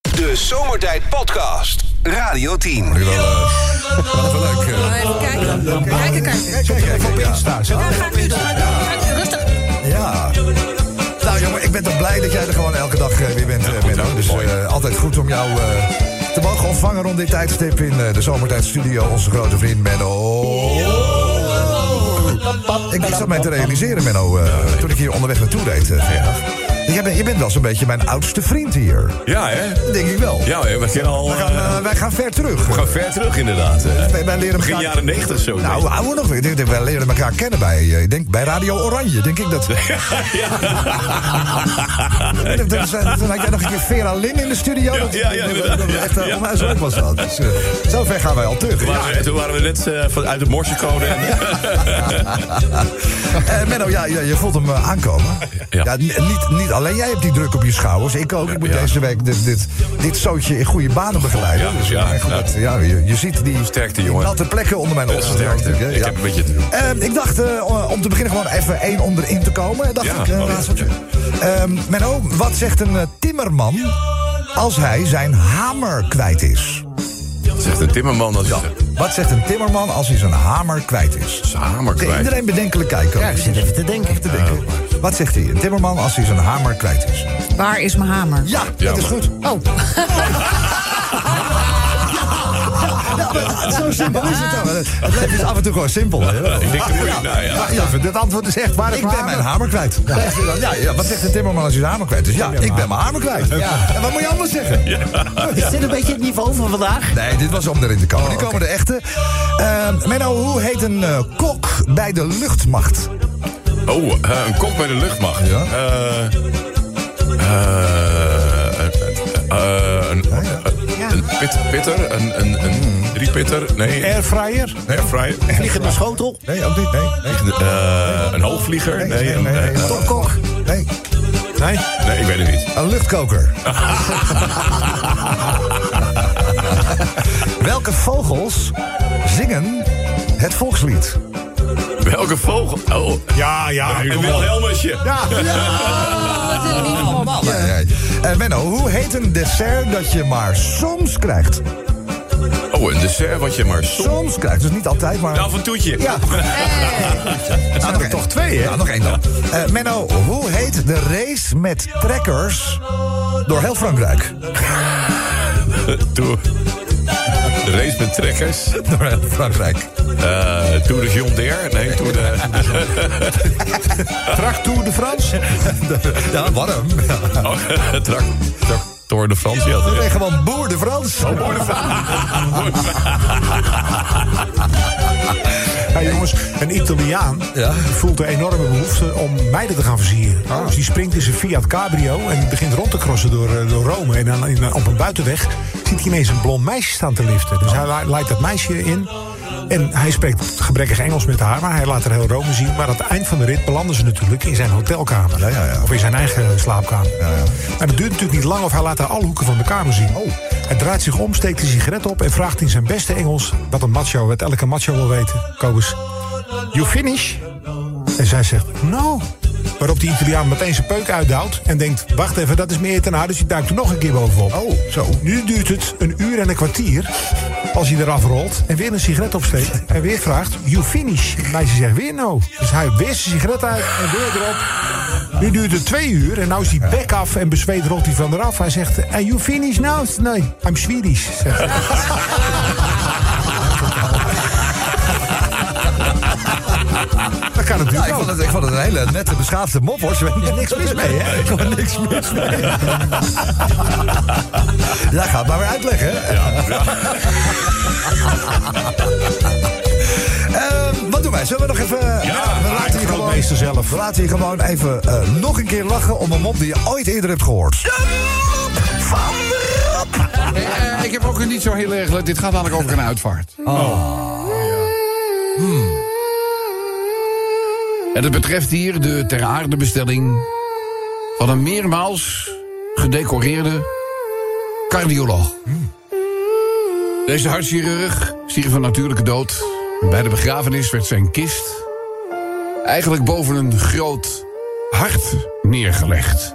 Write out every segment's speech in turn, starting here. De Zomertijd Podcast. Radio 10. Nu wel, eh, wat wel leuk. eh. Even kijken. Kijken, kijken. Kijk, kijk, kijk, ja. Ja, ga ik nu doen. Ga ik- Rustig. Ja. Nou jongen, ik ben toch blij dat jij er gewoon elke dag eh, weer bent, eh, Menno. Dus eh, altijd goed om jou eh, te mogen ontvangen rond dit tijdstip in eh, de Zomertijdstudio. Onze grote vriend Menno. Ik, ik zat mij te realiseren, Menno, eh, toen ik hier onderweg naartoe reed eh, vanmiddag. Jij bent, je bent wel zo'n beetje mijn oudste vriend hier. Ja, hè? Denk ik wel. Ja, hè, we kennen al. Wij gaan, eh, eh, wij gaan ver terug. we gaan ver terug, inderdaad. hè. Wij, wij leren Begin elkaar- jaren 90 zo. Nou, ouwe nog. Ik denk dat Wij leren elkaar kennen bij, eh, ik denk, bij Radio Oranje, denk ik dat. Ja. Toen had jij nog een keer Vera Lin in de studio. Ja, dat, ja, ja, dat- inderdaad. dat- dat- echt, eh, Ja. onwijs leuk was dat. Dus, eh, zo ver gaan wij al terug. Toen waren we, toen waren we net eh, van- uit de morsecode. en- Eh, Menno, ja, ja, je voelt hem eh, aankomen. Ja. Ja. n- niet, niet alleen jij hebt die druk op je schouders. Ik ook. ik moet ja. deze week dit, dit, dit zootje in goede banen begeleiden. Ja, Dus, ja, maar goed, ja. dat- ja, je, je ziet die, Sterkte, die jongen. natte plekken onder mijn oksels. sterkte. natuurlijk, hè. Ik heb een beetje te doen. Ehm, ik dacht eh, om te beginnen gewoon even één om erin te komen. Dacht Ja, ik, eh, oh, ja, raadseltje. ja. Ehm, Menno, wat zegt een eh, timmerman als hij zijn hamer kwijt is? Zegt een timmerman dat hij Wat zegt een timmerman als hij zijn hamer kwijt is? zijn hamer Oké, kwijt. Iedereen bedenkelijk kijken. Ja, ik zit even te denken. Even te denken. Wat zegt hij? Een timmerman als hij zijn hamer kwijt is. Waar is mijn hamer? Ja, Ja, dat is maar- goed. Oh, Ja, maar Zo simpel is het dan. Het leven is af en toe gewoon simpel. hè? Ik denk, dat moet je- nou ja. Ja, ja, dit antwoord is echt waar. Ik ben mijn hamer kwijt. Ja, ja, wat zegt een timmerman als hij zijn hamer kwijt is? Ja, ik ben mijn hamer kwijt. En wat moet je anders zeggen? Is dit een beetje het niveau van vandaag? Nee, dit was om erin te komen. Nu komen de echte. Eh, Menno, hoe heet een eh, kok bij de luchtmacht? Oh, eh, een kok bij de luchtmacht. Ja. Eh, eh, eh, eh, een- Ja. Een pit, pitter, een, een, een driepitter, nee. Airfryer? Airfryer. Vliegende schotel? Nee, ook niet. Nee, nee. Eh, een hoogvlieger? Nee, Nee, nee, een, nee, nee. eh, Topkok? Nee, nee. Nee, ik weet het niet. een luchtkoker. Welke vogels zingen het volkslied? Welke vogel? Oh, Ja, ja. een Wilhelmusje. Oh, wat een lief man. Ja. Eh, Menno, hoe heet een dessert dat je maar soms krijgt? Oh, een dessert wat je maar soms... Soms krijgt, dus niet altijd, maar... Nou, van toetje. Ja. Nou, nog toch twee, hè? Nou, nog één dan. Eh, Menno, hoe heet de race met trekkers door heel Frankrijk? Tour. De race met trekkers. Door heel Frankrijk. Eh, Tour de Jondair. Nee, Tour de... Tour de France? ja, warm. Ja. Oh, trak, trak, Tour de France. Ja, Nee, gewoon Oh, Boer de Frans. Hey, jongens, een Italiaan Ja. die voelt de enorme behoefte om meiden te gaan versieren. Ah. Dus die springt in zijn Fiat Cabrio en die begint rond te crossen door, eh, door Rome. En dan in- op een buitenweg ziet hij ineens een blond meisje staan te liften. Dus hij la- leidt dat meisje in. En hij spreekt gebrekkig Engels met haar, maar hij laat er heel Rome zien. Maar aan het eind van de rit belanden ze natuurlijk in zijn hotelkamer. Ja, ja, ja. Of in zijn eigen slaapkamer. Maar dat duurt natuurlijk niet lang of hij laat haar alle hoeken van de kamer zien. Oh. Hij draait zich om, steekt een sigaret op en vraagt in zijn beste Engels... wat een macho, wat elke macho wil weten. Kobus, you finish? En zij zegt, no. Waarop die Italiaan meteen zijn peuk uitduwt en denkt... wacht even, dat is meer te naar, dus hij duikt er nog een keer bovenop. Oh, zo. Nu duurt het een uur en een kwartier als hij eraf rolt... en weer een sigaret opsteekt en weer vraagt, you finish? Het meisje zegt weer no. Dus hij weer zijn sigaret uit en weer erop. Nu duurt het twee uur en nou is hij bek af en bezweet rolt hij van eraf. Hij zegt, are you finish now? Nee, I'm Swedish. zegt hij. Dat kan Ja, ik natuurlijk vond, ook. het, ik vond het een hele nette, beschaafde mop, hoor. Sven. Er is niks mis mee, hè? Ik vond niks mis mee. Ja, ga het maar weer uitleggen, hè? Ehm, wat doen wij? Zullen we nog even... we, laten hier gewoon, grootmeester zelf. we laten hier gewoon even eh, nog een keer lachen om een mop die je ooit eerder hebt gehoord. Eh, ik heb ook niet zo heel erg. Dit gaat namelijk over een uitvaart. Oh. Hmm. En het betreft hier de ter aarde bestelling van een meermaals gedecoreerde cardioloog. Deze hartchirurg stierf van natuurlijke dood. Bij de begrafenis werd zijn kist eigenlijk boven een groot hart neergelegd.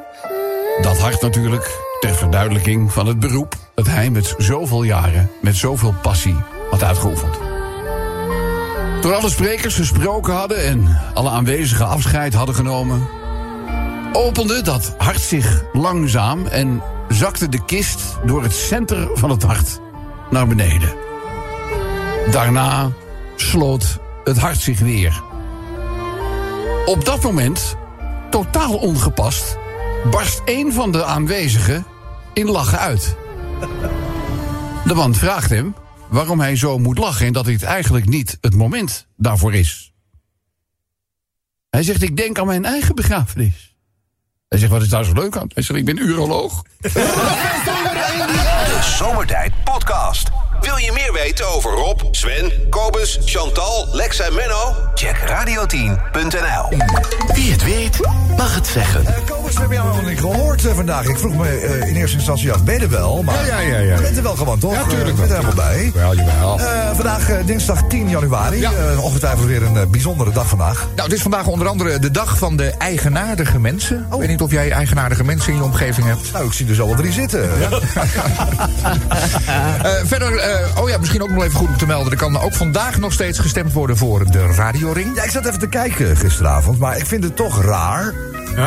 Dat hart natuurlijk Ter verduidelijking van het beroep dat hij met zoveel jaren, met zoveel passie had uitgeoefend. Toen alle sprekers gesproken hadden en alle aanwezigen afscheid hadden genomen, opende dat hart zich langzaam en zakte de kist door het center van het hart naar beneden. Daarna sloot het hart zich weer. Op dat moment, totaal ongepast, barst een van de aanwezigen in lachen uit. De man vraagt hem waarom hij zo moet lachen en dat dit eigenlijk niet het moment daarvoor is. Hij zegt: Ik denk aan mijn eigen begrafenis. Hij zegt: Wat is daar zo leuk aan? Hij zegt: Ik ben uroloog. De Zomertijd Podcast. Wil je meer weten over Rob, Sven, Kobus, Chantal, Lex en Menno? Check radio10.nl. Wie het weet, mag het zeggen. Eh, Kobus, we hebben jou helemaal niet gehoord eh, vandaag. Ik vroeg me eh, in eerste instantie af, ben je er wel? Maar Ja, ja, ja, ja. je bent er wel gewoon, toch? Ja, tuurlijk Eh, Je bent er wel. helemaal bij. Wel, jawel. Eh, vandaag eh, dinsdag 10 januari. Ja. Eh, ongetwijfeld weer een eh, bijzondere dag vandaag. Nou, het is vandaag onder andere de dag van de eigenaardige mensen. Ik weet niet of jij eigenaardige mensen in je omgeving hebt. Oh. Nou, ik zie dus al wel drie zitten. Eh, verder, eh, oh ja, misschien ook nog even goed om te melden. Er kan ook vandaag nog steeds gestemd worden voor de radioring. Ja, ik zat even te kijken gisteravond, maar ik vind het toch raar...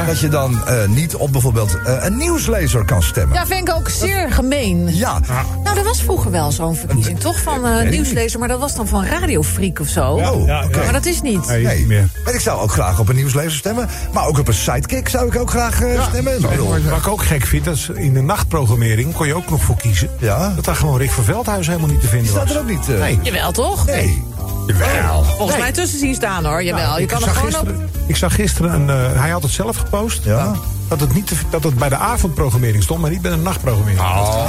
dat je dan eh, niet op bijvoorbeeld eh, een nieuwslezer kan stemmen. Ja, vind ik ook zeer gemeen. Ja, Nou, er was vroeger wel zo'n verkiezing, toch? Van eh, nieuwslezer, maar dat was dan van radiofreak of zo. Oh, ja, oké. Maar dat is niet. Nee, nee. niet meer. En ik zou ook graag op een nieuwslezer stemmen. Maar ook op een sidekick zou ik ook graag eh, stemmen. Ik bedoel, Wat ik ook gek vind, dat is in de nachtprogrammering kon je ook nog voor kiezen. Ja. Dat daar gewoon Rick van Veldhuis helemaal niet te die vinden staat er was. ook niet. eh, Nee. Jawel, toch? nee. Jawel. Volgens mij tussen zien staan, Nou, hoor. Jawel, je Ik kan er zag gewoon op... gisteren- Ik zag gisteren, een, eh, hij had het zelf gepost, Ja. dat, het niet te- dat het bij de avondprogrammering stond, maar niet bij de nachtprogrammering. Ah,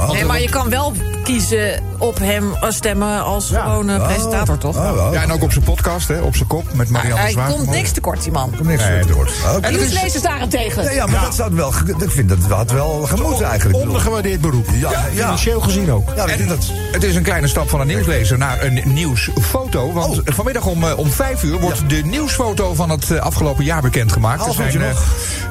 Oh, Nee, maar je kan wel kiezen op hem eh, stemmen als gewoon eh, presentator, toch? Oh, wel. Ja, en ook op zijn podcast, hè, op zijn kop, met Marianne Hij Zwaar. komt niks tekort, die man. Kom niks nee, door. Oké. Nieuwslezers daarentegen. dus- Ja, ja, maar dat zou wel. ge- Ik vind dat had wel gemoeten eigenlijk. Ik bedoel, Ondergewaardeerd beroep. Ja, ja. Financieel gezien ook. Oh, Ja, ik En vind dat. het is een kleine stap van een nieuwslezer naar een nieuwsfoto. Want Oh. vanmiddag om, eh, om vijf uur wordt de nieuwsfoto van het eh, afgelopen jaar bekendgemaakt. Half Er uurtje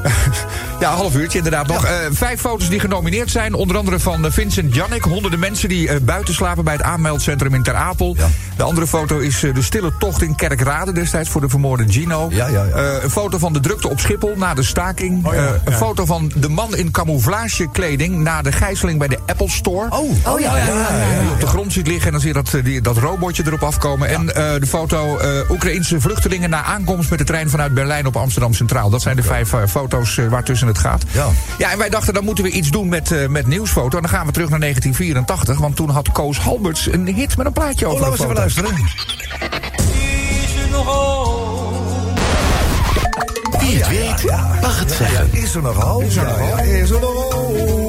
eh, ja, half uurtje inderdaad nog. Eh, vijf foto's die genomineerd zijn. Onder andere van eh, Vincent Jannik. Honderden mensen die eh, buiten slapen bij het aanmeldcentrum in Ter Apel. Ja. De andere foto is eh, de stille tocht in Kerkrade destijds voor de vermoorde Gino. Ja, ja, ja. Eh, een foto van de drukte op Schiphol na de staking. Oh, ja. Eh, een Ja. foto van de man in camouflagekleding na de gijzeling bij de Apple Store. Oh, ja, ja, ja, ja. Die op de grond ziet liggen en dan zie je dat, eh, die, dat robotje erop afkomen. En eh, de foto eh Oekraïnse vluchtelingen na aankomst met de trein vanuit Berlijn op Amsterdam Centraal. Dat zijn de vijf eh, foto's eh, waartussen het gaat. Ja. ja, en wij dachten dan moeten we iets doen met, eh, met nieuwsfoto. En dan gaan we terug naar 1984, want toen had Koos Halberts een hit met een plaatje Oh, over laten een we eens even foto. luisteren. Wie het weet, mag het zeggen. Is er nog hoop? Is er nog hoop? Is er nog hoop?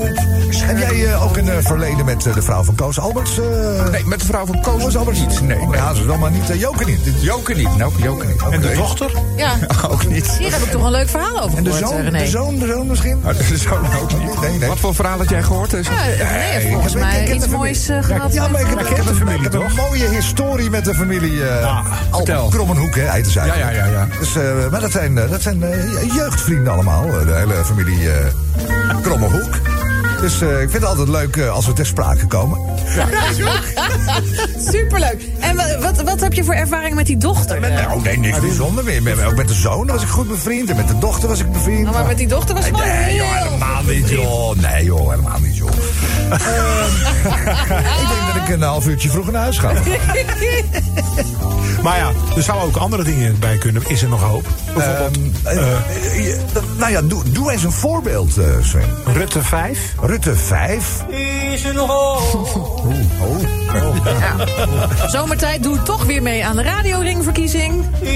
Heb jij eh, ook een eh, verleden met eh, de vrouw van Koos Alberts? eh? Nee, met de vrouw van Koos Koos Alberts niet. Nee, Oh, nee. Ja, ze is wel, maar niet eh, Joke niet. Dit- Joker niet. Nou, Joker niet. En de Oké. dochter? Ja, Ook niet. hier heb ik toch een leuk verhaal over En de gehoord, zoon, eh, René. de zoon, Oh, de zoon misschien? Ah, De zoon ook niet. Nee, nee. Wat voor verhaal had jij gehoord? eh, Ja, René heeft volgens Ik heb- ik mij heb iets een moois eh, gehad. Ja, maar ik heb, met- ik heb, een, ik heb een mooie historie met de familie eh vertel. Albert Krommenhoek, hè, heet ze Ja, ja, ja, ja. Dus, eh, maar dat zijn, eh, dat zijn eh, jeugdvrienden allemaal, eh, de hele familie eh Krommenhoek. Dus eh, ik vind het altijd leuk eh, als we ter sprake komen. eh, Superleuk. En wa- wat, wat heb je voor ervaring met die dochter? Met, nou, nee, niks bijzonder meer. Met, ook met de zoon was ik goed bevriend en met de dochter was ik bevriend. Nou, maar met die dochter was het wel Nee, heel... joh, helemaal niet, joh. Nee, joh, helemaal niet, joh. Ehm, ik denk dat ik een half uurtje vroeg naar huis ga. Maar ja, er zouden ook andere dingen bij kunnen. Is er nog hoop? Bijvoorbeeld Eh, eh, je- dat- nou ja, doe, doe eens een voorbeeld, eh, Sven. Rutte 5. Rutte 5. Oh. Zomertijd doet toch weer mee aan de radioringverkiezing. Nou,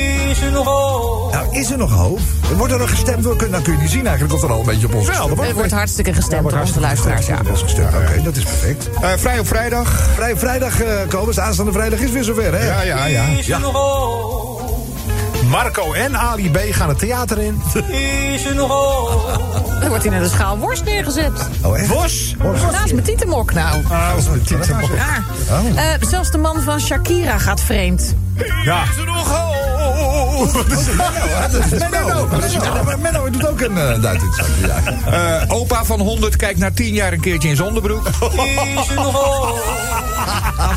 is er nog hoop? Wordt er nog gestemd? door? Kun- Nou, kun je niet zien eigenlijk of er al een beetje op ons gestemd Er wordt hartstikke gestemd door onze hartstikke luisteraars, ja. gestemd. Er is gestemd, Oké, dat is perfect. Eh, vrij op vrijdag. Vrij, vrijdag, eh Kobus, aanstaande vrijdag is weer zover, hè? Ja, ja, ja. Marco en Ali B gaan het theater in. Er wordt hier net een schaal worst neergezet. Oh, echt? Bos. Naast mijn tietemok nou. Oh. Eh, zelfs de man van Shakira gaat vreemd. Ja. Menno, Menno, Menno doet ook een eh, duit in het zakje, ja. Eh, opa van 100 kijkt na 10 jaar een keertje in zijn onderbroek. Oh.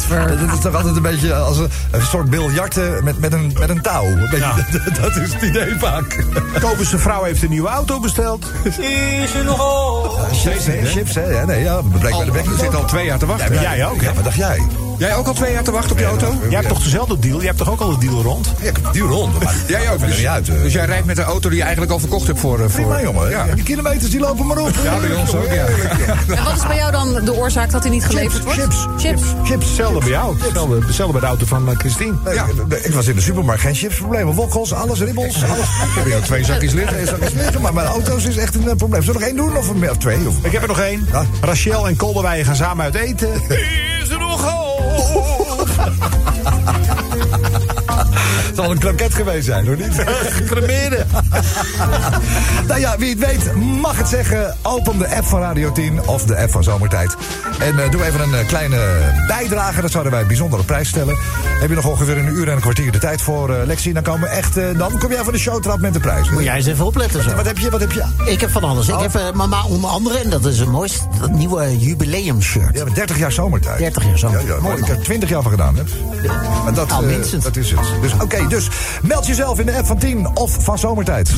Dat is toch altijd een beetje als een, een soort biljarten met, met, een, met een touw. Een beetje- dat is het idee vaak. Kobus' vrouw heeft een nieuwe auto besteld. Chips, hè? Chips, hè? Ja, nee, ja, blijkbaar de bek Ik zit al twee jaar te wachten. Ja, jij ook, hè? Oh. Ja, wat dacht jij? Jij ook al twee jaar te wachten op je auto? Jij hebt toch dezelfde deal? Jij hebt toch ook al een deal rond? Ja, ik heb die rond. maar- Jij ook. Maakt Dus, niet uit. eh. dus jij rijdt met een auto die je eigenlijk al verkocht hebt voor... eh, voor Prima, jongen. Ja. Die kilometers die lopen maar op. Ja, bij ons ook, ja. En wat is bij jou dan de oorzaak dat hij niet geleverd wordt? chips, chips. Chips. Hetzelfde bij jou. Hetzelfde, hetzelfde bij de auto van eh, Christine. Nee, ik- Ik was in de supermarkt, geen chipsproblemen. Wokkels, alles, ribbels, alles. Ik heb hier twee zakjes liggen. Twee zakjes liggen, maar mijn auto's is echt een eh, probleem. Zullen we er nog één doen? Of, een- of twee? Of... Ik heb er nog één. Ja. Rachel en Kolderweijen gaan samen uit eten. Het zal een kroket geweest zijn, hoor niet? Cremeren. nou ja, wie het weet mag het zeggen. Open de app van Radio 10 of de app van Zomertijd. En eh, doe even een eh, kleine bijdrage. Dat zouden wij bijzonder op prijs stellen. Heb je nog ongeveer een uur en een kwartier de tijd voor, eh Lexi? Dan komen we echt... eh, dan kom jij van de showtrap met de prijs. Moet jij eens even opletten zo. Wat heb je? Wat heb je? Ik heb van alles. Ik heb eh, maar, maar onder andere, en dat is het mooiste, dat nieuwe jubileum-shirt. Ja, maar 30 jaar zomertijd. 30 jaar zomertijd. Ja, ja, maar Mooi, ik heb man. 20 jaar van gedaan, hè? Maar dat, Nou, eh, minstens. dat is het. Dus oké, dus meld jezelf in de app van 10 of van zomertijd.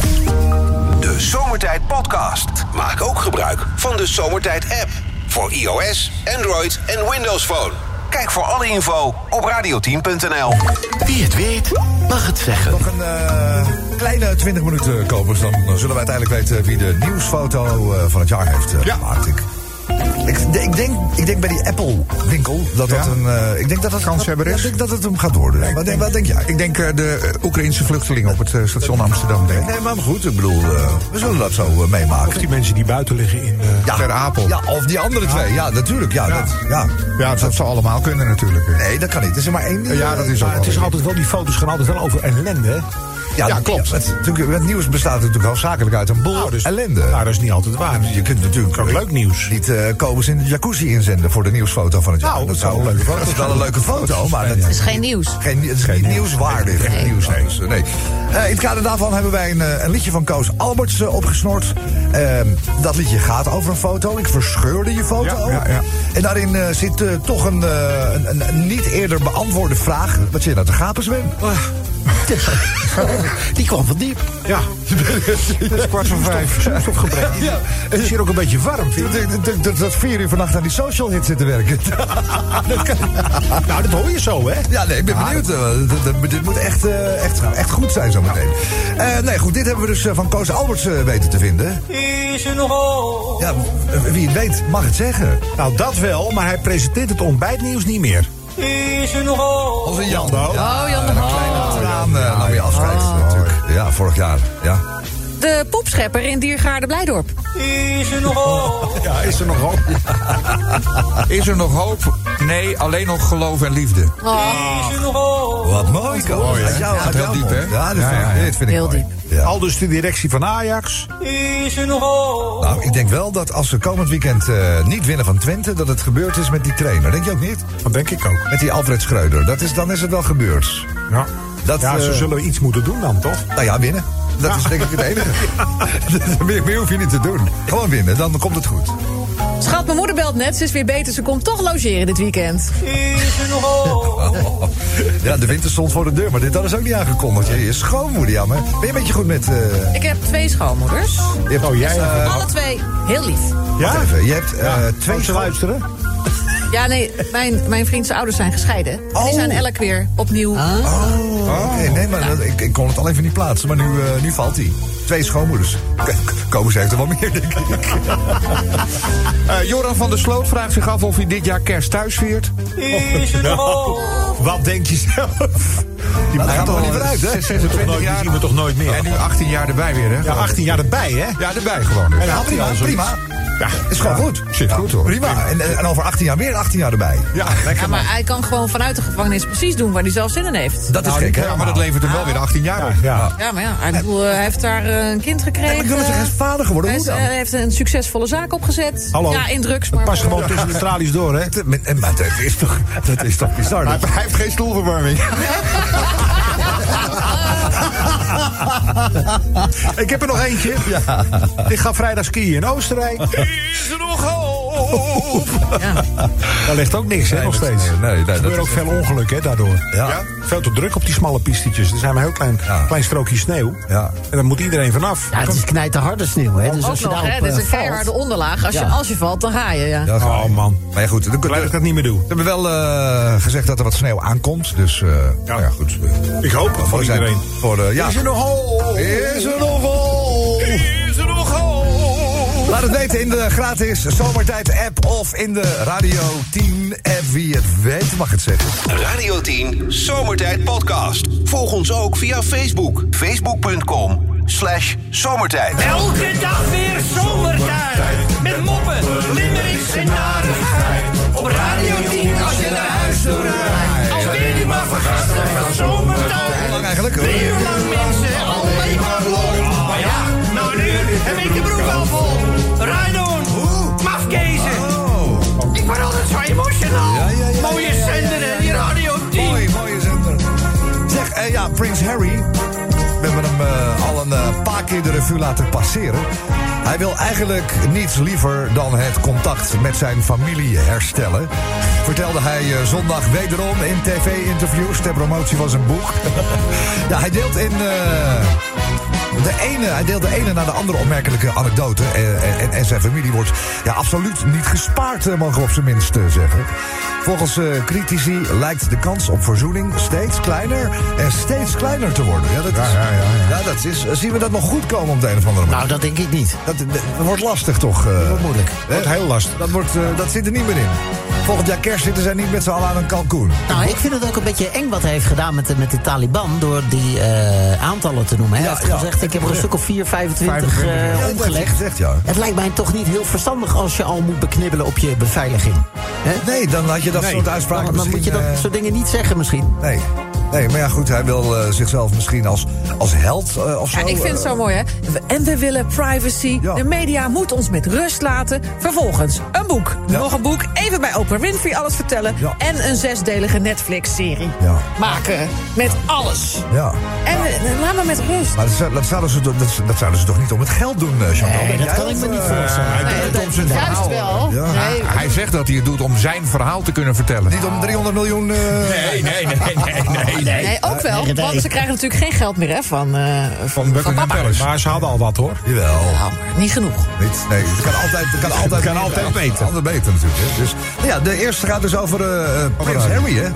De Zomertijd Podcast. Maak ook gebruik van de Zomertijd app. Voor iOS, Android en Windows Phone. Kijk voor alle info op radio10.nl. Wie het weet, mag het zeggen. Nog een eh, kleine 20 minuten, kopers. Dan eh, zullen we uiteindelijk weten wie de nieuwsfoto eh, van het jaar heeft eh, Ja. gemaakt. Ik, ik, de- ik, denk, ik denk bij die Apple-winkel dat dat Ja. een... eh, ik denk dat dat Kanshebber ja, is. Ik denk dat het hem gaat worden. Wat, denk- wat denk jij? Ik denk eh, de eh, Oekraïnse vluchtelingen op het eh, station Amsterdam. Denk. ik. Nee, maar goed, ik bedoel, eh, we zullen dat zo eh, Of meemaken. die mensen die buiten liggen in... eh, Ja. Ter Apel. Ja, of die andere twee. Ja, natuurlijk. Ja, Dat, ja. Ja, dat zou allemaal kunnen natuurlijk. Nee, dat kan niet. Er is er maar één. die, Ja, eh, dat is ook maar het is altijd wel, die foto's gaan altijd wel over ellende. hè? Ja, ja, klopt. Het, natuurlijk, het nieuws bestaat natuurlijk hoofdzakelijk uit een bol Nou, dus- ellende. Nou, dat is niet altijd waar. je kunt natuurlijk ook leuk nieuws. niet eh Kobus in de jacuzzi inzenden voor de nieuwsfoto van het jaar. Nou, dat zou nou, een leuke foto. Dat is wel een leuke foto, maar dat is geen nieuws. Geen, het is niet nieuwswaardig. Geen nieuws, nee. Dus, eh, nee. Eh, in het kader daarvan hebben wij een, eh, een liedje van Koos Alberts eh, opgesnort. Ehm, dat liedje gaat over een foto. Ik verscheurde je foto. Ja, ja, ja. En daarin eh, zit eh, toch een, eh, een, een- een niet eerder beantwoorde vraag. Wat zit je nou te gapen, Sven? Die kwam van diep. Ja. Het is kwart voor vijf. Zoetstofgebrek. Het is hier ook een beetje warm. vind je? Dat- dat- dat- Dat vier uur vannacht aan die social hit zitten werken. Dat kan- Nou, dat hoor je zo, hè? Ja, nee, ik ben benieuwd. eh, d- d- d- dit moet echt, eh, echt, echt goed zijn zometeen. Eh, nee, goed, dit hebben we dus eh, van Koos Alberts eh, weten te vinden. Ja, w- w- wie het weet mag het zeggen. Nou, dat wel, maar hij presenteert het ontbijtnieuws niet meer. Onze Jan de Hoop. Oh, Jan de Oh. Hoop. Traan eh, nam je afscheid natuurlijk. Ja, vorig jaar. Ja. De popschepper in Diergaarde Blijdorp. Ja, is er nog hoop? Is er nog hoop? Nee, alleen nog geloof en liefde. Wat mooi, Koos. mooi, hè? Uit jou- Ja, uit heel jouw diep, mond. hè? Ja, dit Ja, vind ik- ja, ja. dit vind ik Heel mooi. diep. Ja. Al dus de directie van Ajax. Nou, ik denk wel dat als ze komend weekend eh, niet winnen van Twente... dat het gebeurd is met die trainer. Denk je ook niet? Dat denk ik ook. Met die Alfred Schreuder. Dat is, dan is het wel gebeurd. Ja, Dat, ja ze eh, zullen iets moeten doen dan, toch? Nou ja, winnen. Dat is denk ik het enige. meer, meer hoef je niet te doen. Gewoon winnen, dan komt het goed. Schat, mijn moeder belt net. Ze is weer beter. Ze komt toch logeren dit weekend. Oh. Ja, de winter stond voor de deur, maar dit hadden ze ook niet aangekondigd. Je, je schoonmoeder, jammer. Ben je een beetje goed met... eh, Ik heb twee schoonmoeders. je hebt, Eh, Oh, jij hebt- Alle twee heel lief. Wacht Ja? even, je hebt eh, twee Moet ze scho- luisteren? Ja, nee, mijn, mijn vriend zijn ouders zijn gescheiden. En die Oh. zijn elk weer opnieuw. Oh, oké, nee, maar dat- ik, ik kon het al even niet plaatsen, maar nu, eh, nu valt hij. Twee schoonmoeders. Komen ze heeft er wel meer, denk ik. Eh, Joran van der Sloot vraagt zich af of hij dit jaar kerst thuis viert. Wat denk je zelf? Nou, Die Dat gaat eh, gaat toch al niet vooruit, hè? 26 Die jaar. zien we toch nooit En meer? nu 18 jaar erbij weer, hè? Ja, 18 jaar erbij, hè? Ja, erbij gewoon. Dus. En dan had hij Prima, al zoiets. prima. Ja, Is gewoon goed. Zit goed, hoor. Prima. En, eh, en over 18 jaar weer 18 jaar erbij. Ja, lekker Ja, man. maar hij kan gewoon vanuit de gevangenis precies doen waar hij zelf zin in heeft. Dat is Nou, gek, hè? ja, maar dat levert hem wel weer 18 jaar op. Ja, ja. Ja, maar ja, hij, bedoel, eh, hij heeft daar eh, een kind gekregen. Ja, maar ik wil maar zeggen, hij is vader geworden. Hij Hoe is, dan? eh, heeft een succesvolle zaak opgezet. Hallo. Ja, in drugs, Het maar... eh, past gewoon tussen de tralies door, hè? Te- met- en- Maar dat is toch, dat is toch bizar? heeft geen stoelverwarming. Ik heb er nog eentje. Ik ga vrijdag skiën in Oostenrijk. Is er nog hoop? Daar ligt ook niks, hè, nog dat- steeds. nee, nee, er dat gebeuren ook is- veel ongelukken hè, daardoor. Ja. Veel te druk op die smalle pistetjes. Er zijn maar een heel klein, Ja. klein strookje sneeuw. Ja. En daar moet iedereen vanaf. Ja, het is knijterharde sneeuw, hè? Dus Ook als je nog, hè? daarop Dit is eh, een keiharde valt... onderlaag. Als je, Ja. als je valt, dan ga je. Ja. Ja, Oh man, Maar ja, goed, dan- blij dat ik dat niet meer doe. Ze hebben wel eh, gezegd dat er wat sneeuw aankomt. Dus eh, nou ja, goed. Ik hoop het voor Mooi zijn iedereen. Voor, de- ja. Is er nog hoop? Is er nog hoop? Is er nog hoop? Laat het weten in de gratis zomertijd-app of in de Radio 10-app. Wie het weet mag het zeggen. Radio 10 Zomertijd Podcast. Volg ons ook via Facebook. Facebook.com slash zomertijd. Elke dag weer zomertijd. Met moppen, limericks en narigheid. Op Radio 10 als je naar huis toe rijdt. Alweer die maar vergasten van zomertijd. Hoe lang eigenlijk? Drie uur lang mensen, alleen maar lol. Maar ja, nou nu heb ik de broek al vol. Rijdon, mafkezen. Oh, Ik word altijd zo emotional. Ja, ja, ja, Mooie ja, ja, zender en die Radio 10. mooi, mooie zender. Zeg, eh, ja, Prins Harry. We hebben hem eh, al een eh, paar keer de revue laten passeren. Hij wil eigenlijk niets liever dan het contact met zijn familie herstellen. Vertelde hij eh, zondag wederom in tv-interviews ter promotie van zijn boek. ja, hij deelt in... eh, De ene, hij deelt de ene naar de andere opmerkelijke anekdote. eh, En, en, en zijn familie wordt ja, absoluut niet gespaard, eh, mogen we op zijn minst eh, zeggen. Volgens eh, critici lijkt de kans op verzoening steeds kleiner en steeds kleiner te worden. Ja, dat is, ja, dat is, zien we dat nog goed komen op de een of andere manier? Nou, dat denk ik niet. Dat, dat wordt lastig toch? eh, wordt moeilijk. hè? Wordt heel lastig. Dat, wordt, eh, dat zit er niet meer in. Volgend jaar kerst zitten zij niet met z'n allen aan een kalkoen. Nou, ik vind het ook een beetje eng wat hij heeft gedaan met de, met de Taliban... door die eh, aantallen te noemen. Hij Ja, heeft ja. gezegd, ik heb er een stuk of 4, 25, 25, eh, Ja, dat omgelegd. heeft hij gezegd, ja. Het lijkt mij toch niet heel verstandig als je al moet beknibbelen op je beveiliging. Hè? Nee, dan had je dat Nee, soort uitspraken Dan, dan moet je misschien, dat eh, soort dingen niet zeggen misschien. Nee. Nee, maar ja, goed, hij wil eh, zichzelf misschien als, als held eh, of zo. Ja, ik vind het eh, zo mooi, hè? We- En we willen privacy. Ja. De media moet ons met rust laten. Vervolgens een boek. Ja. Nog een boek. Even bij Oprah Winfrey alles vertellen. Ja. En een zesdelige Netflix-serie Ja. maken. Met alles. Ja, En we- laat me met rust. maar dat, zou- dat, zouden ze, toch- dat, dat zouden ze toch niet om het geld doen, eh Chantal? Nee, Denk dat jij kan of, ik me niet eh, voorstellen. hij doet het om zijn verhaal. wel. Ja. Nee. Hij zegt dat hij het doet om zijn verhaal te kunnen vertellen. Niet om 300 miljoen... eh, Nee, nee, nee, nee, nee. nee. Nee, ook wel. nee, nee. Want ze krijgen natuurlijk geen geld meer hè, van, eh, van, van Buckingham papa. Palace. Maar ze hadden al wat hoor. Jawel. Nou, maar niet genoeg. Niet, nee, het kan altijd, het kan altijd, kan altijd beter. Altijd beter natuurlijk. Hè. Dus, nou ja, de eerste gaat dus over eh, eh, Prins Harry. Harry, hè?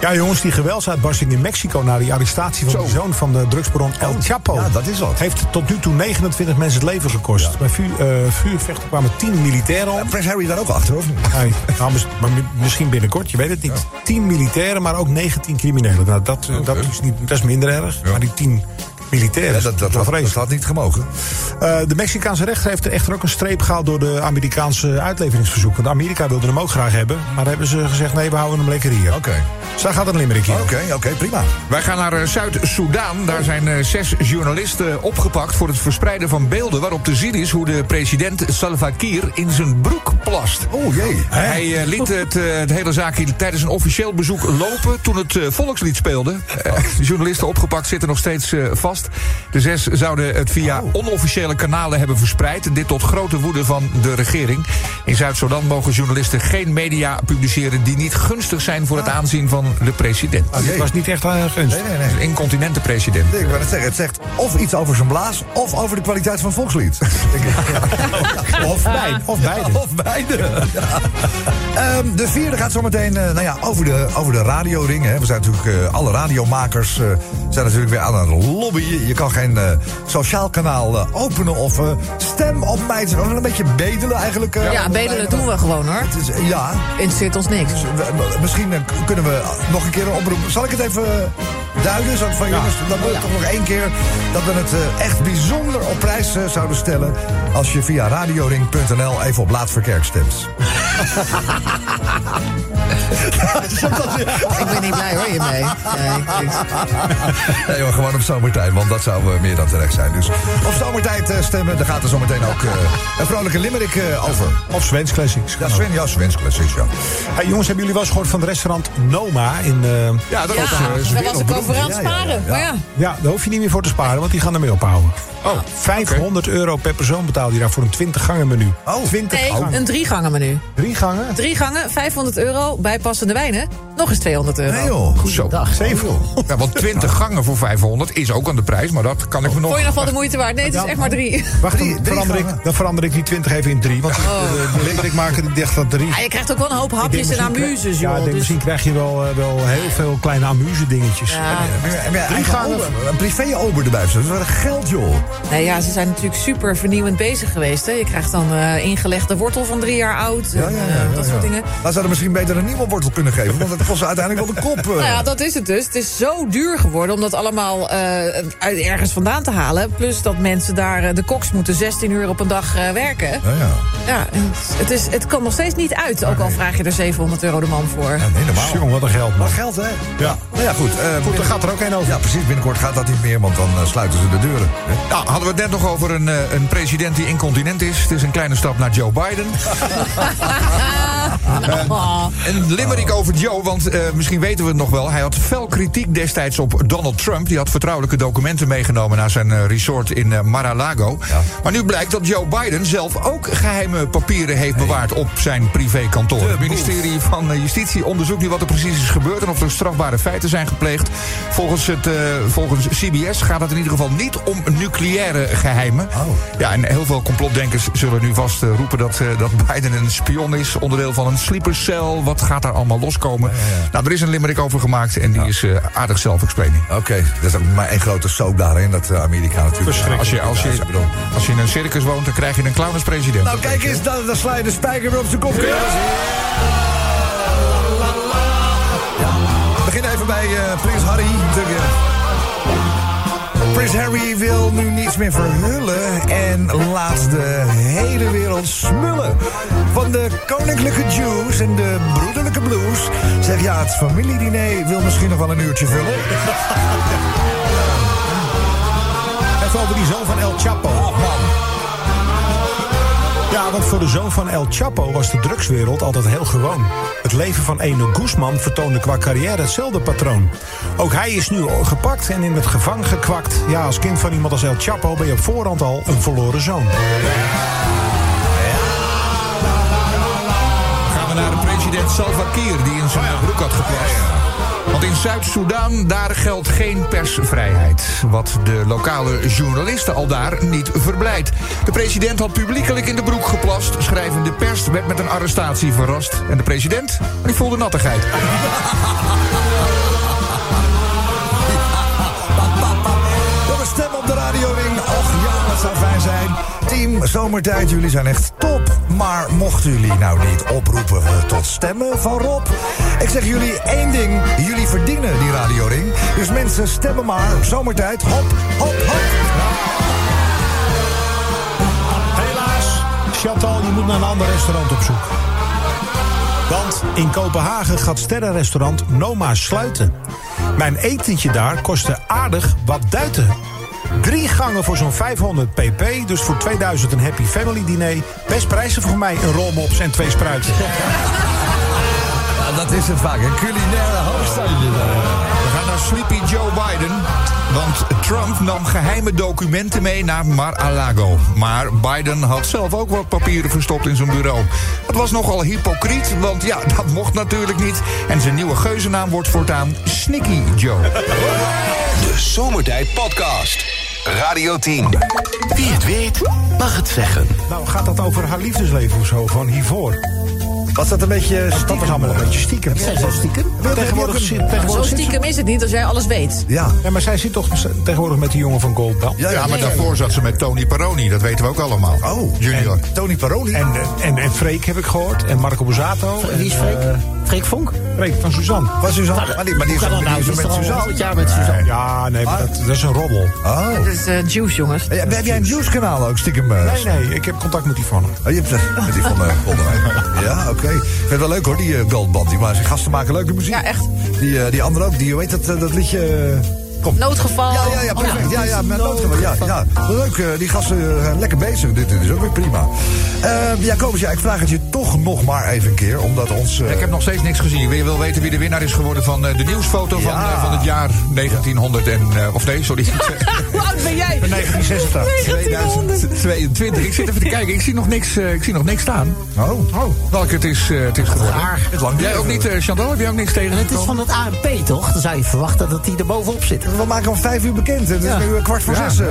Ja jongens, die geweldsuitbarsting in Mexico... na die arrestatie van de zoon van de drugsbaron El Chapo... Ja, dat is wat. heeft tot nu toe 29 mensen het leven gekost. Bij vuur, eh, vuurvechten kwamen 10 militairen om. Prins Harry daar ook achter, of niet? Nee, nou, mis- maar mi- misschien binnenkort, je weet het niet. 10 militairen, maar ook 19 criminelen. Nou, dat, eh, dat is niet, best minder erg. Maar die 10 militairen, dat, Ja, dat, dat, is dat, wel dat vreselijk. had niet gemogen. Eh, de Mexicaanse rechter heeft er echter ook een streep gehaald door de Amerikaanse uitleveringsverzoek. Want Amerika wilde hem ook graag hebben, maar hebben ze gezegd: nee, we houden hem lekker hier. Oké, Dus daar gaat een limerick in. oké, oké, prima. Wij gaan naar eh, Zuid-Soedan. Daar zijn eh, zes journalisten opgepakt voor het verspreiden van beelden... waarop te zien is hoe de president Salva Kiir in zijn broek plast. Oh jee. Hij eh, liet het, eh, het hele zaakje tijdens een officieel bezoek lopen toen het eh, volkslied speelde. Eh, Oh. de journalisten opgepakt zitten nog steeds eh, vast. De zes zouden het via Oh. onofficiële kanalen hebben verspreid. Dit tot grote woede van de regering. In Zuid-Soedan mogen journalisten geen media publiceren die niet gunstig zijn voor het Ah. aanzien van de president. Nou, dit Jee. was niet echt aan gunstig. Nee, nee, Ah. nee. Incontinente president. Ik wou net zeggen, het zegt of iets over zijn blaas... of over de kwaliteit van volkslied. Denk ik. Of, bij, of beide. Of beide. Ja. Ehm, de vierde gaat zometeen eh, nou ja, over, de, over de radioring. Hè. We zijn natuurlijk, eh, alle radiomakers eh, zijn natuurlijk weer aan het lobbyen. Je kan geen eh, sociaal kanaal eh, openen of eh, stem op mij. Het is gewoon Een beetje bedelen eigenlijk. eh, Ja, bedelen doen we gewoon hoor. Het is- ja, Interesseert ons niks. dus we- we- misschien eh, k- kunnen we nog een keer een oproep. Zal ik het even eh, duiden? Zal ik van jongens, dan wil ik toch nog één keer dat we het eh, echt bijzonder op prijs eh, zouden stellen. als je via radioring.nl even op Laat Verkerk stemt. ik ben niet blij hoor hiermee. Nee, maar gewoon op zomertijd, want dat zou eh, meer dan terecht zijn. Dus op zomertijd eh, stemmen, daar gaat er zometeen ook eh, een vrolijke limerick eh, over. Of Sven's Classics. Ja, Sven, ja, Sven's Classics, ja. Hey, jongens, hebben jullie wel eens gehoord van het restaurant Noma in... eh, Ja, dat was, eh, Ja, ze daar weer was ik nog over aan het sparen. Maar ja, Ja, daar hoef je niet meer voor te sparen, want die gaan ermee ophouden. Oh, 500 euro per persoon betaal je daar voor een 20 gangen menu. Oh, 20 nee, gangen. een drie gangen menu. Drie gangen? Drie gangen, 500 euro, bijpassende wijnen, nog eens 200 euro. Nee joh. Zo. Dag. Ja, want 20 gangen voor 500 is ook aan de prijs, maar dat kan ik me nog. Vond je nog wel de moeite waard? Nee, het is echt maar drie. Wacht, dan, drie verander gangen. ik, dan verander ik die 20 even in 3. Want de, de limerick maken die dacht dat 3. Ja, je krijgt ook wel een hoop hapjes en amuses, Ja, joh. ik denk, Dus misschien krijg je wel, eh, wel heel veel kleine amuse dingetjes. Ja. Maar, maar, maar, eigen gangen. ober, een privé-ober erbij. Dat is wel geld, joh. nee, ja, ze zijn natuurlijk super vernieuwend bezig geweest. Hè. Je krijgt dan eh, ingelegde wortel van drie jaar oud. en, eh, dat soort dingen. Dan zouden we misschien beter een nieuwe wortel kunnen geven. Want dat kost ze uiteindelijk wel de kop. eh. Nou ja, dat is het dus. Het is zo duur geworden om dat allemaal eh, uit ergens vandaan te halen. Plus dat mensen daar, eh, de koks moeten 16 uur op een dag eh, werken. Nou ja. Ja, en het, is, het kan nog steeds niet uit, ook al vraag je er 700 euro de man voor. Ja, nee, normaal. Jongen, wat een geld, man. Maar geld, hè? Ja. Nou ja, goed. eh, Goed, dan gaat er ook één over. Ja, precies. Binnenkort gaat dat niet meer, want dan eh, sluiten ze de deuren. hè. Nou, hadden we het net nog over een, eh, een president die incontinent is. Het is een kleine stap naar Joe Biden. Oh. Een limerick over Joe, want eh, misschien weten we het nog wel. Hij had fel kritiek destijds op Donald Trump. Die had vertrouwelijke documenten meegenomen naar zijn eh, resort in eh, Mar-a-Lago. Maar nu blijkt dat Joe Biden zelf ook geheime papieren heeft bewaard op zijn privékantoor. Het ministerie van eh, Justitie onderzoekt nu wat er precies is gebeurd en of er strafbare feiten zijn gepleegd. Volgens, het, eh, volgens CBS gaat het in ieder geval niet om nucleaire geheimen. Ja, en heel veel complotdenkers zullen nu vast eh, roepen dat, eh, dat Biden een spion is, onderdeel van een sleepercel. Wat gaat daar allemaal loskomen? Nou, er is een limerick over gemaakt en die is eh, aardig self-explaining. Oké, dat is ook maar één grote soap daarin, dat eh, Amerika natuurlijk. Als je, als, Ja, je, ik bedoel- als je in een circus woont, dan krijg je een clown als president. Nou, kijk eens, dan, dan sla je de spijker weer op zijn kop. Ja. We beginnen even bij eh, Prins Harry. De- eh, Prins Harry wil nu niets meer verhullen en laat de hele wereld smullen. Van de koninklijke juice en de broederlijke blues. Zeg ja, het familiediner wil misschien nog wel een uurtje vullen. Even over die zoon van El Chapo. Oh, Ja, want voor de zoon van El Chapo was de drugswereld altijd heel gewoon. Het leven van Eno Guzman vertoonde qua carrière hetzelfde patroon. Ook hij is nu gepakt en in het gevangen gekwakt. Ja, als kind van iemand als El Chapo ben je op voorhand al een verloren zoon. gaan we naar de president Salva Kiir, die in zijn broek had geplast. Want in Zuid-Soedan, daar geldt geen persvrijheid. Wat de lokale journalisten al daar niet verblijdt. De president had publiekelijk in de broek geplast. Schrijvende pers werd met een arrestatie verrast. En de president, die voelde nattigheid. Jongens, stem op de radioring. Och ja, wat zou fijn zijn. Team Zomertijd, jullie zijn echt top. Maar mochten jullie nou niet oproepen eh, tot stemmen van Rob... ik zeg jullie één ding, jullie verdienen die radioring. Dus mensen, stemmen maar. Zomertijd, hop, hop, hop. Helaas, Chantal, je moet naar een ander restaurant op zoek. Want in Kopenhagen gaat sterrenrestaurant Noma sluiten. Mijn etentje daar kostte aardig wat duiten. Drie gangen voor zo'n 500 pp, dus voor 2000 een happy family diner. Best prijzen voor mij, een rolmops en twee spruiten. Ja, dat is het vaak, een culinaire hoofdstadje. We gaan naar Sleepy Joe Biden. Want Trump nam geheime documenten mee naar Mar-a-Lago. Maar Biden had zelf ook wat papieren verstopt in zijn bureau. Dat was nogal hypocriet, want ja, dat mocht natuurlijk niet. En zijn nieuwe geuzennaam wordt voortaan Sneaky Joe. De Zomertijd Podcast. Radio 10. Wie het weet, mag het zeggen. Nou, gaat dat over haar liefdesleven of zo, van hiervoor? Was dat een beetje Dat was allemaal een beetje stiekem. stiekem? Tegenwoordig, zit- Zo tegenwoordig zit ze... stiekem is het niet als jij alles weet. Ja. Ja, maar zij zit toch tegenwoordig met die jongen van Goldbell? Ja, maar daarvoor zat ze met Tony Peroni, dat weten we ook allemaal. Oh, junior. en Tony Paroli. En, eh, en, en Freek heb ik gehoord. En Marco Bozzato. Wie is en, eh, Freek? Freek Vonk? Freek van Suzanne. Van Suzanne. Maar die, maar die Hoe kan dat nou? die Die is met toch al Suzanne. 100 jaar met Suzanne? Ja, nee, Ah. maar dat, dat is een robbel. Oh. Dat is eh juice, jongens. Ja, heb jij een nieuwskanaal ook, stiekem? eh, Nee, nee, ik heb contact met Yvonne. Oh, je hebt eh, met die van eh, Kolderwijn. Ja, oké. Ik vind het wel leuk hoor, die eh, goldband. Die maar zijn gasten maken leuke muziek. Ja, echt. Die, eh, die andere ook, die, hoe heet dat, eh, dat liedje? eh, Kom. Noodgeval. Oh, Ja, ja, ja, perfect. Ja, ja, met noodgeval. Ja, ja. Leuk, eh, die gasten eh, zijn lekker bezig. Dit, dit is ook weer prima. Eh Jacobus, ja, ik vraag het je toch nog maar even een keer. Omdat ons... eh, Ik heb nog steeds niks gezien. Je wil weten wie de winnaar is geworden van eh, de nieuwsfoto van, Ja. eh, van het jaar 1900 en... eh, of nee, sorry. Hoe oud ben jij? 1986. 2022. Ik zit even te kijken. Ik zie nog niks, eh, ik zie nog niks staan. Oh. oh. Welke het is, eh, het is Het geworden. lang Jij ook niet, eh, Chantal? Heb jij ook niks tegen? Het is van het ANP, toch? Dan zou je verwachten dat die er bovenop zit. We maken hem om vijf uur bekend. Het is nu eh, kwart voor zes. eh,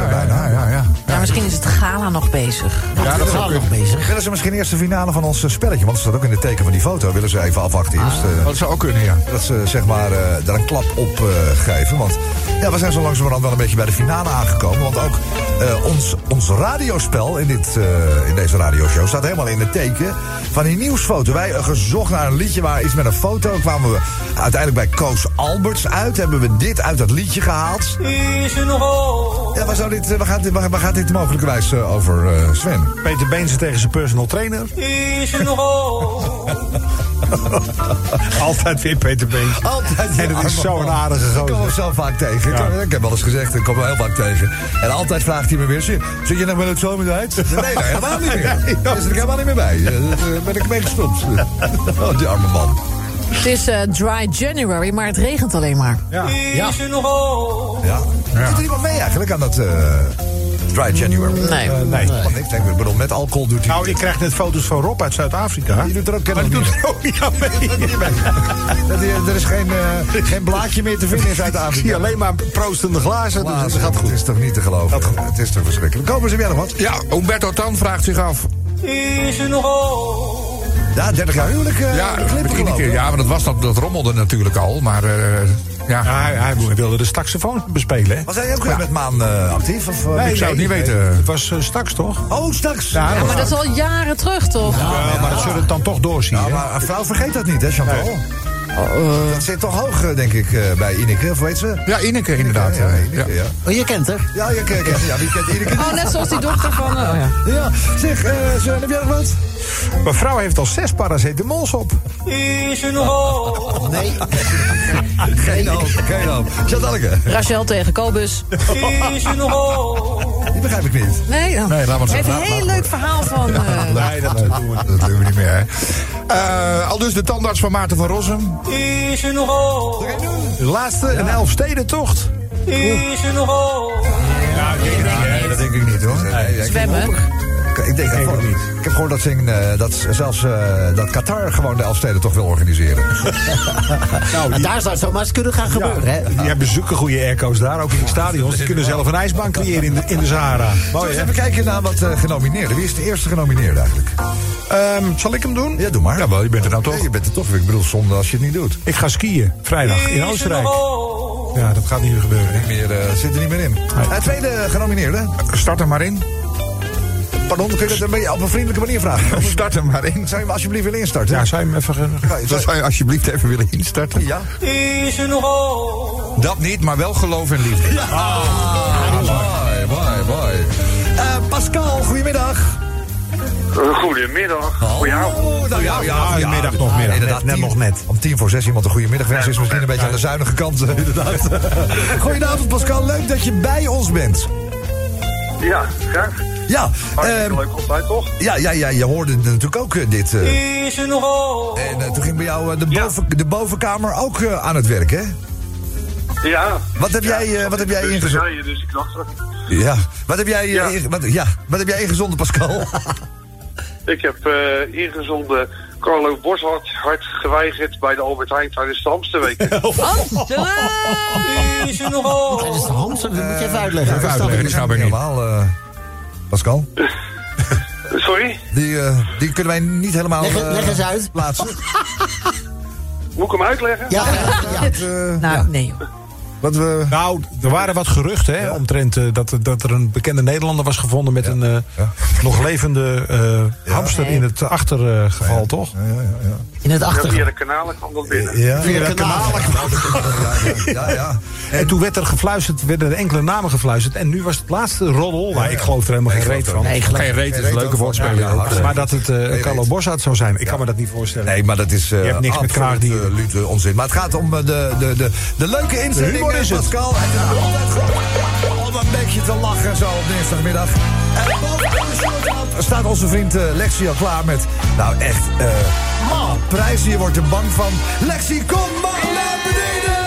ja, bijna. ja, ja. Ja, misschien is het gala nog bezig. Ja, dat dat is zou al kunnen. nog bezig. Willen ze misschien eerst de finale van ons eh, spelletje? Want het staat ook in het teken van die foto. Willen ze even afwachten eerst. eh, Dat zou ook kunnen, ja. Dat ze zeg maar, eh, daar een klap op eh, geven. Want ja, we zijn zo langzamerhand wel een beetje bij de finale aangekomen. Want ook eh, ons, ons radiospel in, dit, eh, in deze radioshow staat helemaal in het teken van die nieuwsfoto. Wij eh, gezocht naar een liedje waar iets met een foto. Kwamen we uiteindelijk bij Koos Alberts uit. Hebben we dit uit dat liedje gehaald. Is er nog hoop? Ja, waar, zou dit, eh, waar, gaat, dit, waar, waar gaat dit mogelijkerwijs eh, over, eh, Sven? Peter Beense tegen zijn personal trainer. Is er nog hoop? Altijd weer Peter Beense. Altijd. En het is arme zo'n man. aardige Ik kom hem gozer. zo vaak tegen. Ik- Ja. Ik heb wel eens gezegd, ik kom hem heel vaak tegen. En altijd vraagt hij me weer, "Zie- zit je nog met het zomer uit? Nee, nee, helemaal niet meer. Daar zit ik helemaal niet meer bij. Eh, daar Ben ik mee gestopt. Oh, die arme man. Het is eh, dry January, maar het regent alleen maar. Is er nog hoop? Ja. Doet er iemand mee eigenlijk aan dat eh, Dry January? Nee. Eh, nee. Want ik denk, ik bedoel, met alcohol doet hij... Nou, ik krijg net foto's van Rob uit Zuid-Afrika. Die doet er ook kennelijk doet niet er ook niet aan mee. Dat hij- Er is geen, eh, geen blaadje meer te vinden in Ik Zuid-Afrika. zie alleen maar proostende glazen. Dus dat gaat Het goed. is toch niet te geloven? Het is toch verschrikkelijk. Komen ze weer nog wat? Ja, Humberto Tan vraagt zich af. Is er nog hoop? Ja, 30 jaar huwelijk. eh, Ja, de klippen met iedere keer, gelopen. ja maar dat, was, dat, dat rommelde natuurlijk al. Maar eh, Ja, ja, hij, hij wilde de saxofoon bespelen. hè? Was hij ook weer met Maan eh, actief? Of, eh, ik zou het niet weten. Het was eh, straks toch? Oh, straks. Ja, Ja, maar dat is al jaren terug, toch? Ja, maar dat zullen we dan toch doorzien. Ja, hè? maar een vrouw vergeet dat niet, hè, Chantal? Dat zit toch hoog, eh, denk ik, eh, bij Ineke, of weet ze? ja Ineke inderdaad. Ja, ja, ja, Ineke, ja. ja. Oh, je kent Nou, haar. Ja, je kent, ja, wie kent Ineke? Oh, net zoals die dochter van... eh, oh ja. Ja, zeg, eh Sven, heb jij nog wat? Mijn vrouw heeft al zes paracetamols op. Is er nog hoop? Nee. Geen hoop, geen hoop. Chantalke, Rachel tegen Kobus. Is er nog hoop? die begrijp ik niet. Nee, dan. Nee, laat maar Even zeggen. een heel leuk verhaal van... eh, Nee, dat doen we, dat doen we niet meer. Hè. Eh, al dus de tandarts van Maarten van Rossum. Is er nog hoop? De laatste, een Elfstedentocht. Is er nog hoop? Nee, dat denk ik niet, hoor. Nee, ik- Zwemmen. Ik, ik denk dat gewoon, Ik heb gehoord dat, ze in, eh, dat ze- zelfs eh, dat Qatar gewoon de Elfsteden toch wil organiseren. Nou, En die, daar zou het zomaar eens kunnen gaan gebeuren, hè? die hebben zulke goede airco's daar, ook in de stadions. Die kunnen zelf een ijsbaan creëren in de, in de Sahara. Zullen Oh, Mooi, we hè? eens even kijken naar wat eh, genomineerden. Wie is de eerste genomineerde eigenlijk? Ehm, zal ik hem doen? Ja, doe maar. Ja, wel, je bent er nou toch. Nee, je bent er toch. Ik bedoel, zonde als je het niet doet. Ik ga skiën, vrijdag, Is in er nog Oostenrijk. hoop? Ja, dat gaat niet meer gebeuren, hè? Meer, eh, zit er niet meer in. Eh, tweede genomineerde. Start er maar in. Pardon, kun je dat een beetje op een vriendelijke manier vragen? Anders Start er maar in. Zou je hem alsjeblieft willen instarten? Ja, zou je hem even... ge- Zou- Dat zou- zou je alsjeblieft even willen instarten. ja? Is er nog hoop? Dat niet, maar wel geloof en liefde. Ah, mooi, mooi, mooi. Eh, Pascal, goedemiddag. Goedemiddag. Goedenavond. Oh, nou ja, ja, Ah, middag nog, middag. inderdaad, Net- net tien- nog net. Om tien voor zes iemand een goede middag wensen is misschien een beetje aan de zuinige kant, eh, inderdaad. Goedenavond, Pascal. Leuk dat je bij ons bent. Ja, graag. Ja, Hartstikke ehm, leuk ontbijt, toch? ja, ja, ja, je hoorde natuurlijk ook eh, dit. eh, Is er nog hoop? en eh, toen ging bij jou eh, de, boven, de bovenkamer ook eh, aan het werk, hè? Ja. Wat heb jij, eh, Ja, wat heb jij dus ingezet? ik zei je, Dus ik dacht, Ja. Wat heb jij, eh, Ja. inge- wat, ja. wat heb jij ingezonden, Pascal? ik heb eh, ingezonden Carlo Boshart hard geweigerd bij de Albert Heijn tijdens de Hamsterweek. Oh, ja. Is er nog hoop? Tijdens de Hamster, dat moet je even uitleggen. Dat snap ik uitleggen. niet. Die snap ik niet. helemaal, eh, Pascal. Sorry? Die, eh, die kunnen wij niet helemaal Leg, eh, leg eens uit. plaatsen. Eh, Moet ik hem uitleggen? Ja, ja. Eh, Nou, nee. Wat we... Nou, er waren wat geruchten hè, omtrent eh, dat, dat er een bekende Nederlander was gevonden met een eh, nog levende eh, hamster in het achtergeval, toch? Ja, ja, ja. In het Ja, via de kanalen kwam dat binnen. Ja. Via de kanalen. Ja, ja. En toen werd er gefluisterd, werden er enkele namen gefluisterd. En nu was het laatste roddel, maar ik geloof er helemaal geen reet van. Nee, Geen reet is een leuke Ja, woordspeling. ook. maar dat het eh Carlo Bossard zou zijn, ik kan me dat niet voorstellen. Nee, maar dat is eh Je hebt niks met absoluut, kraagdieren. eh, lute onzin. Maar het gaat om eh, de, de, de, de leuke inzending. humor is eh, het. Pascal. En het is altijd gewoon om een beetje te lachen zo op dinsdagmiddag. En bovenaan de shortlap staat onze vriend eh, Lexi al klaar met... Nou, echt... eh man, prijs hier wordt er bang van. Lexi, kom maar naar beneden!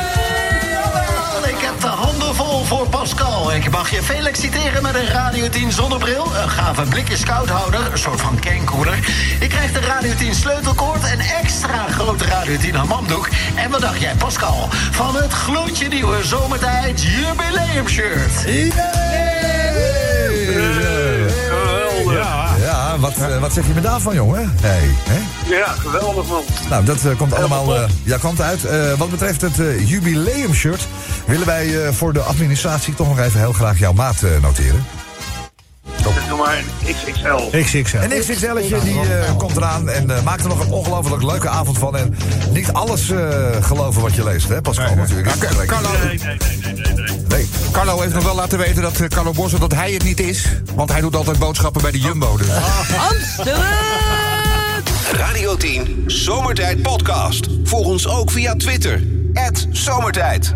Wel, Ik heb de handen vol voor Pascal. Ik mag je veel exciteren met een Radio 10 zonnebril, een gave blikjes koudhouder, een soort van kenkoeler. Je krijgt een Radio 10 sleutelkoord, een extra grote Radio 10 hamamdoek. En wat dacht jij, Pascal, van het gloedje nieuwe zomertijd jubileumshirt? Ja, ja wat, eh, wat zeg je me daarvan, jongen? Hey, hè? Ja, geweldig man. Nou, dat eh, komt allemaal eh ja, komt uit. Eh, wat betreft het eh, jubileumshirt... willen wij eh, voor de administratie toch nog even heel graag jouw maat eh, noteren. Doe maar een XXL. XXL. En XXL'tje die eh, komt eraan en eh, maakt er nog een ongelooflijk leuke avond van. En niet alles eh, geloven wat je leest, hè Nou, Pascal natuurlijk. Ja, Ka- Carlo, Nee, nee, nee, nee, nee, nee. Nee. Carlo heeft nog wel laten weten dat eh, Carlo Bosso dat hij het niet is. Want hij doet altijd boodschappen bij de Jumbo. Dus. Amsterdam! Radio 10 Zomertijd Podcast. Volg ons ook via Twitter. Zomertijd.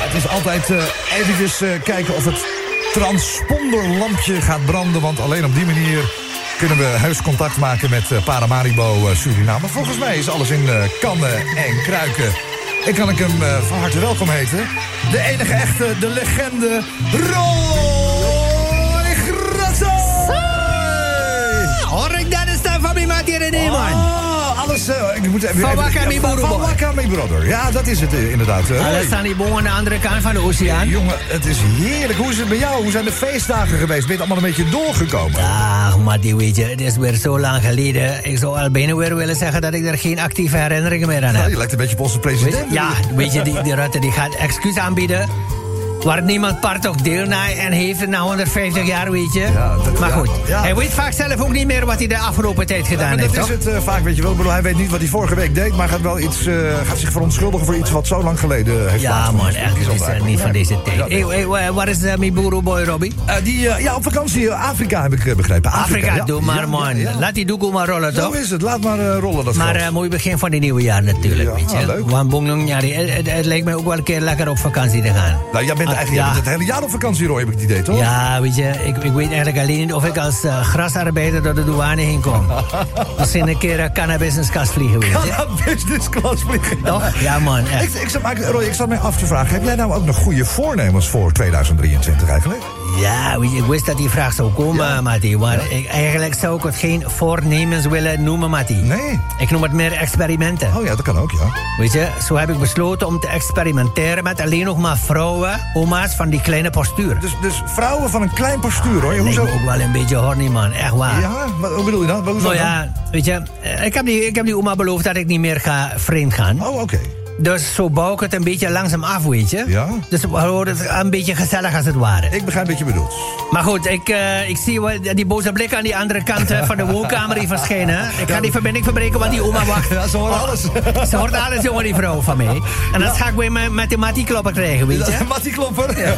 Het is altijd eh, eventjes eh, kijken of het transponderlampje gaat branden. Want alleen op die manier kunnen we heus contact maken met eh, Paramaribo eh, Suriname. Volgens mij is alles in eh, kannen en kruiken. En kan ik hem eh, van harte welkom heten. De enige echte, de legende, Roy Grasso! Hoor ik dat is daar van mijn materie, nee, man. Oh, alles... eh, ik moet even, Van even- Wakami ja, van- Van Boerenboy. Wakami Brother. Ja, dat is het eh, inderdaad. eh. Alles Roy. staan die bomen aan de andere kant van de oceaan. Jongen, het is heerlijk. Hoe is het bij jou? Hoe zijn de feestdagen geweest? Ben je het allemaal een beetje doorgekomen? Ach, Mattie, weet je, het is weer zo lang geleden. Ik zou al bijna weer willen zeggen dat ik er geen actieve herinneringen meer aan Nou, heb. je lijkt een beetje op onze president. Ja, weet je, die, die Rutte die gaat excuus aanbieden. Waar niemand part ook deel na en heeft het na 150 jaar, weet je. Ja, dat- maar ja, goed, ja. hij weet vaak zelf ook niet meer wat hij de afgelopen tijd gedaan Maar heeft, dat is toch? het eh, vaak, weet je wel. Ik bedoel, hij weet niet wat hij vorige week deed, maar gaat wel iets, eh, gaat zich verontschuldigen voor iets wat zo lang geleden heeft Ja, plaatsgevonden. man, echt, Dat dat is eh, onwaar. niet van deze tijd. Ja, Hey, hey, wa- waar is eh, mijn boerenboy Robbie? Eh, die, eh, ja, op vakantie eh, Afrika heb ik eh, begrepen. Afrika, ja. doe Ja, maar, man. ja, ja. Laat die doekoe maar rollen, Zo toch? is het. Laat maar eh, rollen, dat Maar geld. eh mooi begin van die nieuwe jaar natuurlijk, Ja, Ah, weet je. leuk. Want Bonglong Jari, het, het- het lijkt mij ook wel een keer lekker op vakantie te gaan. Nou, jij bent Ah, eigenlijk jij ja. bent het hele jaar op vakantie, Roy, heb ik het idee, toch? Ja, weet je, ik, ik weet eigenlijk alleen niet of ik als eh, grasarbeider door de douane heen kom. Misschien een keer eh, cannabis in zijn kast vliegen, weet je. Ja, business class vliegen. Toch? Ja, man, echt. Ik, ik, zat- maar ik- Roy, ik zat mij af te vragen, heb jij nou ook nog goede voornemens voor 2023 eigenlijk? Ja, weet je, ik wist dat die vraag zou komen, Mattie. Maar ik, eigenlijk zou ik het geen voornemens willen noemen, Mattie. Nee. Ik noem het meer experimenten. Oh ja, dat kan ook, ja. Weet je, zo heb ik besloten om te experimenteren met alleen nog maar vrouwen, oma's van die kleine postuur. Dus, dus vrouwen van een klein postuur, hoor. Lijkt Hoezo? me ook wel een beetje horny, man. Echt waar. Ja, wat, hoe bedoel je dan? Hoezo nou ja, weet je, eh, ik heb, die, ik heb die oma beloofd dat ik niet meer ga vreemd gaan. dan? Oh, oké. Dus zo bouw ik het een beetje langzaam af, weet je. Ja. Dus we houden het een beetje gezellig als het ware. Ik begrijp wat je bedoelt. Maar goed, ik, eh, ik zie wel die boze blik aan die andere kant eh, van de woonkamer die verschijnen. Ik ga die verbinding verbreken, want die oma wacht. Oh, Ja, ze horen alles. Ze hoort alles, jongen, die vrouw van mij. En dat ga ik weer met, met de matikloppen krijgen, weet je. Mattie Klopper.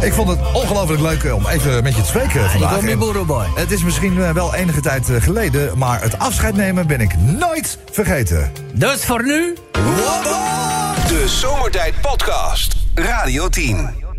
ik vond het ongelooflijk leuk eh, om even met je te spreken Ah, vandaag. kom in En Boerenboy. Het is misschien eh, wel enige tijd eh, geleden, maar het afscheid nemen ben ik nooit vergeten. Dus voor nu, De Zomertijd Podcast. Radio 10.